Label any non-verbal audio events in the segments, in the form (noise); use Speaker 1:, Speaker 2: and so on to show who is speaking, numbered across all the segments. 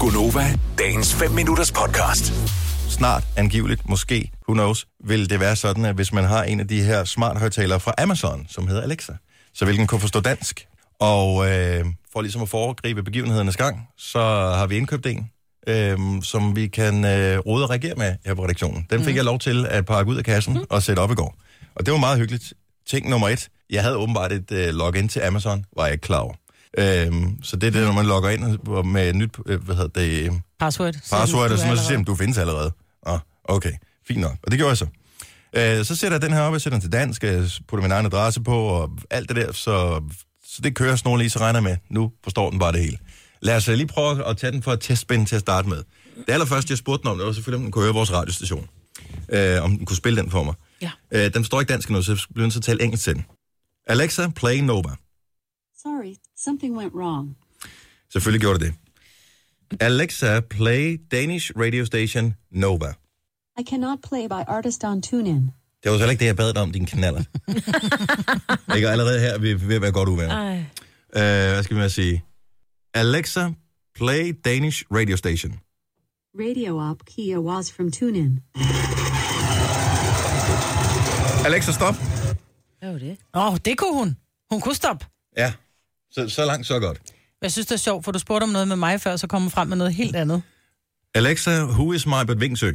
Speaker 1: Gunova, dagens 5 minutters podcast.
Speaker 2: snart, angiveligt, måske, who knows, vil det være sådan, at hvis man har en af de her smart højtalere fra Amazon, som hedder Alexa, så vil den kunne forstå dansk. Og øh, for ligesom at foregribe begivenhedernes gang, så har vi indkøbt en, øh, som vi kan øh, rode og reagere med her på redaktionen. Den fik mm. jeg lov til at pakke ud af kassen mm. og sætte op i går. Og det var meget hyggeligt. Ting nummer et, jeg havde åbenbart et øh, login til Amazon, var jeg ikke klar over. Øhm, så det er det, når man logger ind med et nyt, øh, hvad hedder det, øh,
Speaker 3: Password. Så
Speaker 2: password,
Speaker 3: du
Speaker 2: og sådan noget, så
Speaker 3: allerede-
Speaker 2: siger han, du findes allerede. Ah, okay, fint nok. Og det gjorde jeg så. Øh, så sætter jeg den her op, jeg sætter den til dansk, jeg putter min egen adresse på, og alt det der, så, så det kører sådan lige, så regner jeg med. Nu forstår den bare det hele. Lad os øh, lige prøve at tage den for et testspænd til at starte med. Det allerførste, jeg spurgte den om, det var selvfølgelig, om den kunne høre vores radiostation. Øh, om den kunne spille den for mig.
Speaker 3: Ja.
Speaker 2: Øh, den forstår ikke dansk nu, så jeg bliver nødt til at tale engelsk til den. Alexa, play Nova.
Speaker 4: Sorry, something went wrong.
Speaker 2: Selvfølgelig gjorde det det. Alexa, play Danish radio station Nova.
Speaker 4: I cannot play by artist on TuneIn.
Speaker 2: Det var så heller ikke det, jeg bad dig om, din knaller. ikke Og allerede her, er vi er ved at være godt uvenner.
Speaker 3: Ej.
Speaker 2: Uh, hvad skal vi med at sige? Alexa, play Danish radio station.
Speaker 4: Radio op Kia was from TuneIn.
Speaker 2: Alexa, stop.
Speaker 5: Hvad var det?
Speaker 3: Åh, oh, det kunne hun. Hun kunne stoppe.
Speaker 2: Ja, så, så langt, så godt.
Speaker 3: Jeg synes, det er sjovt, for du spurgte om noget med mig før, så kom hun frem med noget helt andet.
Speaker 2: Alexa, who is my but Vingsø?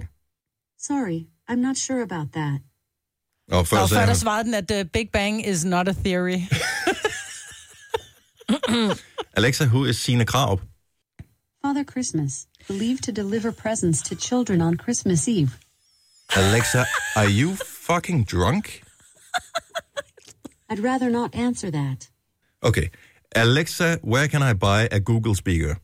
Speaker 4: Sorry, I'm not sure about that.
Speaker 2: Og før,
Speaker 3: Og
Speaker 2: sagde
Speaker 3: før der
Speaker 2: han,
Speaker 3: svarede den, at uh, Big Bang is not a
Speaker 5: (laughs)
Speaker 3: theory.
Speaker 2: Alexa, who is Sina Krav?
Speaker 4: Father Christmas, believed to deliver presents to children on Christmas Eve.
Speaker 2: Alexa, are you fucking drunk?
Speaker 4: I'd rather not answer that.
Speaker 2: Okay. Alexa, where can I buy a Google speaker?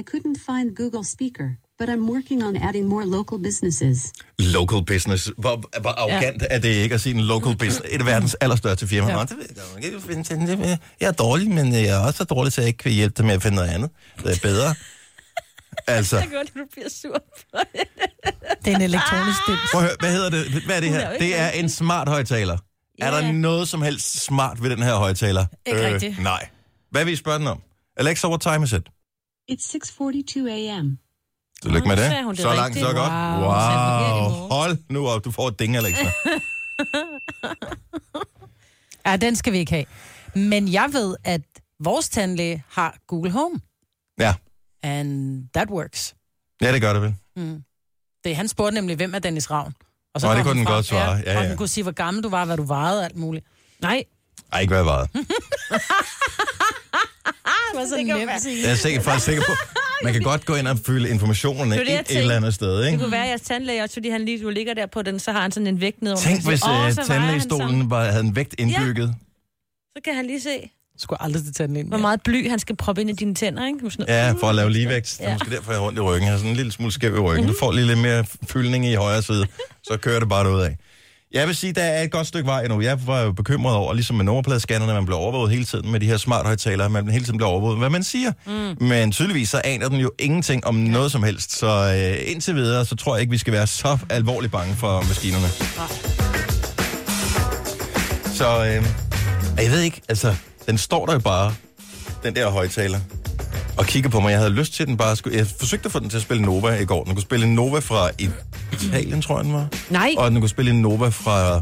Speaker 4: I couldn't find Google Speaker, but I'm working on adding more local businesses.
Speaker 2: Local business. Hvor, hvor arrogant ja. er det ikke at sige en local business? Et af verdens allerstørste firma. Ja. Jeg er dårlig, men jeg er også så dårlig, så jeg ikke kan hjælpe dig med at finde noget andet, der er bedre. Altså,
Speaker 5: Jeg kan godt lide, at du bliver sur på det.
Speaker 3: det er en elektronisk dims.
Speaker 2: prøv at høre, hvad hedder det? Hvad er det her? Det er en smart højtaler. Er der
Speaker 5: Ja.
Speaker 2: noget som helst smart ved den her højtaler? Øh,
Speaker 5: Ikke rigtigt.
Speaker 2: Nej. Hvad vil I spørge den om? Alexa, what time is it?
Speaker 4: It's 6:42 a.m.
Speaker 2: Tillykke med
Speaker 5: nu
Speaker 2: det.
Speaker 5: sagde hun det
Speaker 2: så langt,
Speaker 5: rigtigt.
Speaker 2: så godt. Wow.
Speaker 3: Wow, hun sagde forkert i
Speaker 2: wow.
Speaker 3: morgen.
Speaker 2: Hold nu op, du får et ding, Alexa.
Speaker 3: Ja, den skal vi ikke have. Men jeg ved, at vores tandlæge har Google Home.
Speaker 2: Ja.
Speaker 3: And that works.
Speaker 2: ja, det gør det vel.
Speaker 3: Det, han spurgte nemlig, hvem er Dennis Ravn? Og
Speaker 2: Nå, det
Speaker 3: kom
Speaker 2: kunne
Speaker 3: han
Speaker 2: den
Speaker 3: frem.
Speaker 2: godt svare. Ja,
Speaker 3: Og
Speaker 2: ja.
Speaker 3: den kunne sige, hvor gammel du var, hvad du vejede og alt muligt.
Speaker 5: Nej,
Speaker 2: Ej, ikke hvad jeg vejede.
Speaker 3: Det var så
Speaker 5: kan
Speaker 3: nemt
Speaker 5: være.
Speaker 3: at sige.
Speaker 2: Jeg er sikker, faktisk sikker
Speaker 5: (laughs)
Speaker 2: på, man kan godt gå ind og fylde informationerne
Speaker 5: Det var det, jeg
Speaker 2: ind et eller andet sted,
Speaker 5: det
Speaker 2: ikke?
Speaker 5: kunne være, at jeres tandlæge også, fordi han lige du ligger der på den, så har han sådan en vægt ned under.
Speaker 2: Tænk, hvis
Speaker 5: Åh, så vejer han
Speaker 2: uh,
Speaker 5: så.
Speaker 2: tandlægestolen var, havde en vægt indbygget.
Speaker 5: Så kan han lige se,
Speaker 3: Skulle aldrig til tandlægen.
Speaker 5: hvor meget bly han skal proppe ind i dine tænder, ikke? Du er sådan-
Speaker 2: Ja, for at lave ligevægt. Det er
Speaker 5: Ja.
Speaker 2: måske derfor, jeg har ondt i ryggen. Jeg har sådan en lille smule skæv i ryggen. Du får lige lidt mere fyldning i højre side, så kører det bare ud af. Jeg vil sige, der er et godt stykke vej endnu. Jeg var jo bekymret over, ligesom med nummerpladescannerne, man blev overvåget hele tiden med de her smart højtalere, man hele tiden blev overvåget, hvad man siger. Mm. Men tydeligvis så aner den jo ingenting om noget som helst. Så øh, indtil videre, så tror jeg ikke, vi skal være så alvorligt bange for maskinerne. Så øh, og jeg ved ikke, altså, den står der jo bare, den der højtaler, og kigger på mig. Jeg havde lyst til, at den bare skulle... Jeg forsøgte at få den til at spille Nova i går. Den kunne spille en Nova fra Italien, tror jeg, den var.
Speaker 5: Nej.
Speaker 2: Og den kunne spille en Nova fra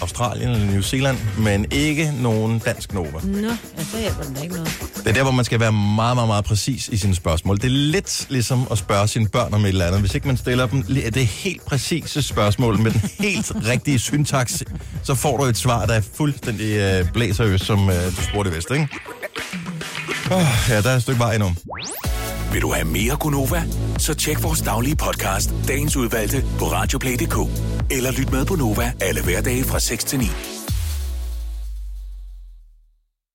Speaker 2: Australien eller New Zealand, men ikke nogen dansk Nova.
Speaker 5: Nå, ja, så hjælper den da ikke noget.
Speaker 2: Det er der, hvor man skal være meget, meget, meget præcis i sine spørgsmål. Det er lidt ligesom at spørge sine børn om et eller andet. Hvis ikke man stiller dem li- det helt præcise spørgsmål med den helt rigtige syntaks, så får du et svar, der er fuldstændig øh, blæserøst, som øh, du spurgte i vest, ikke? Oh, ja, der er et stykke vej endnu.
Speaker 1: Vil du have mere Gunova? Så tjek vores daglige podcast, dagens udvalgte, på radioplay.dk. Eller lyt med på Nova alle hverdage fra 6 til 9.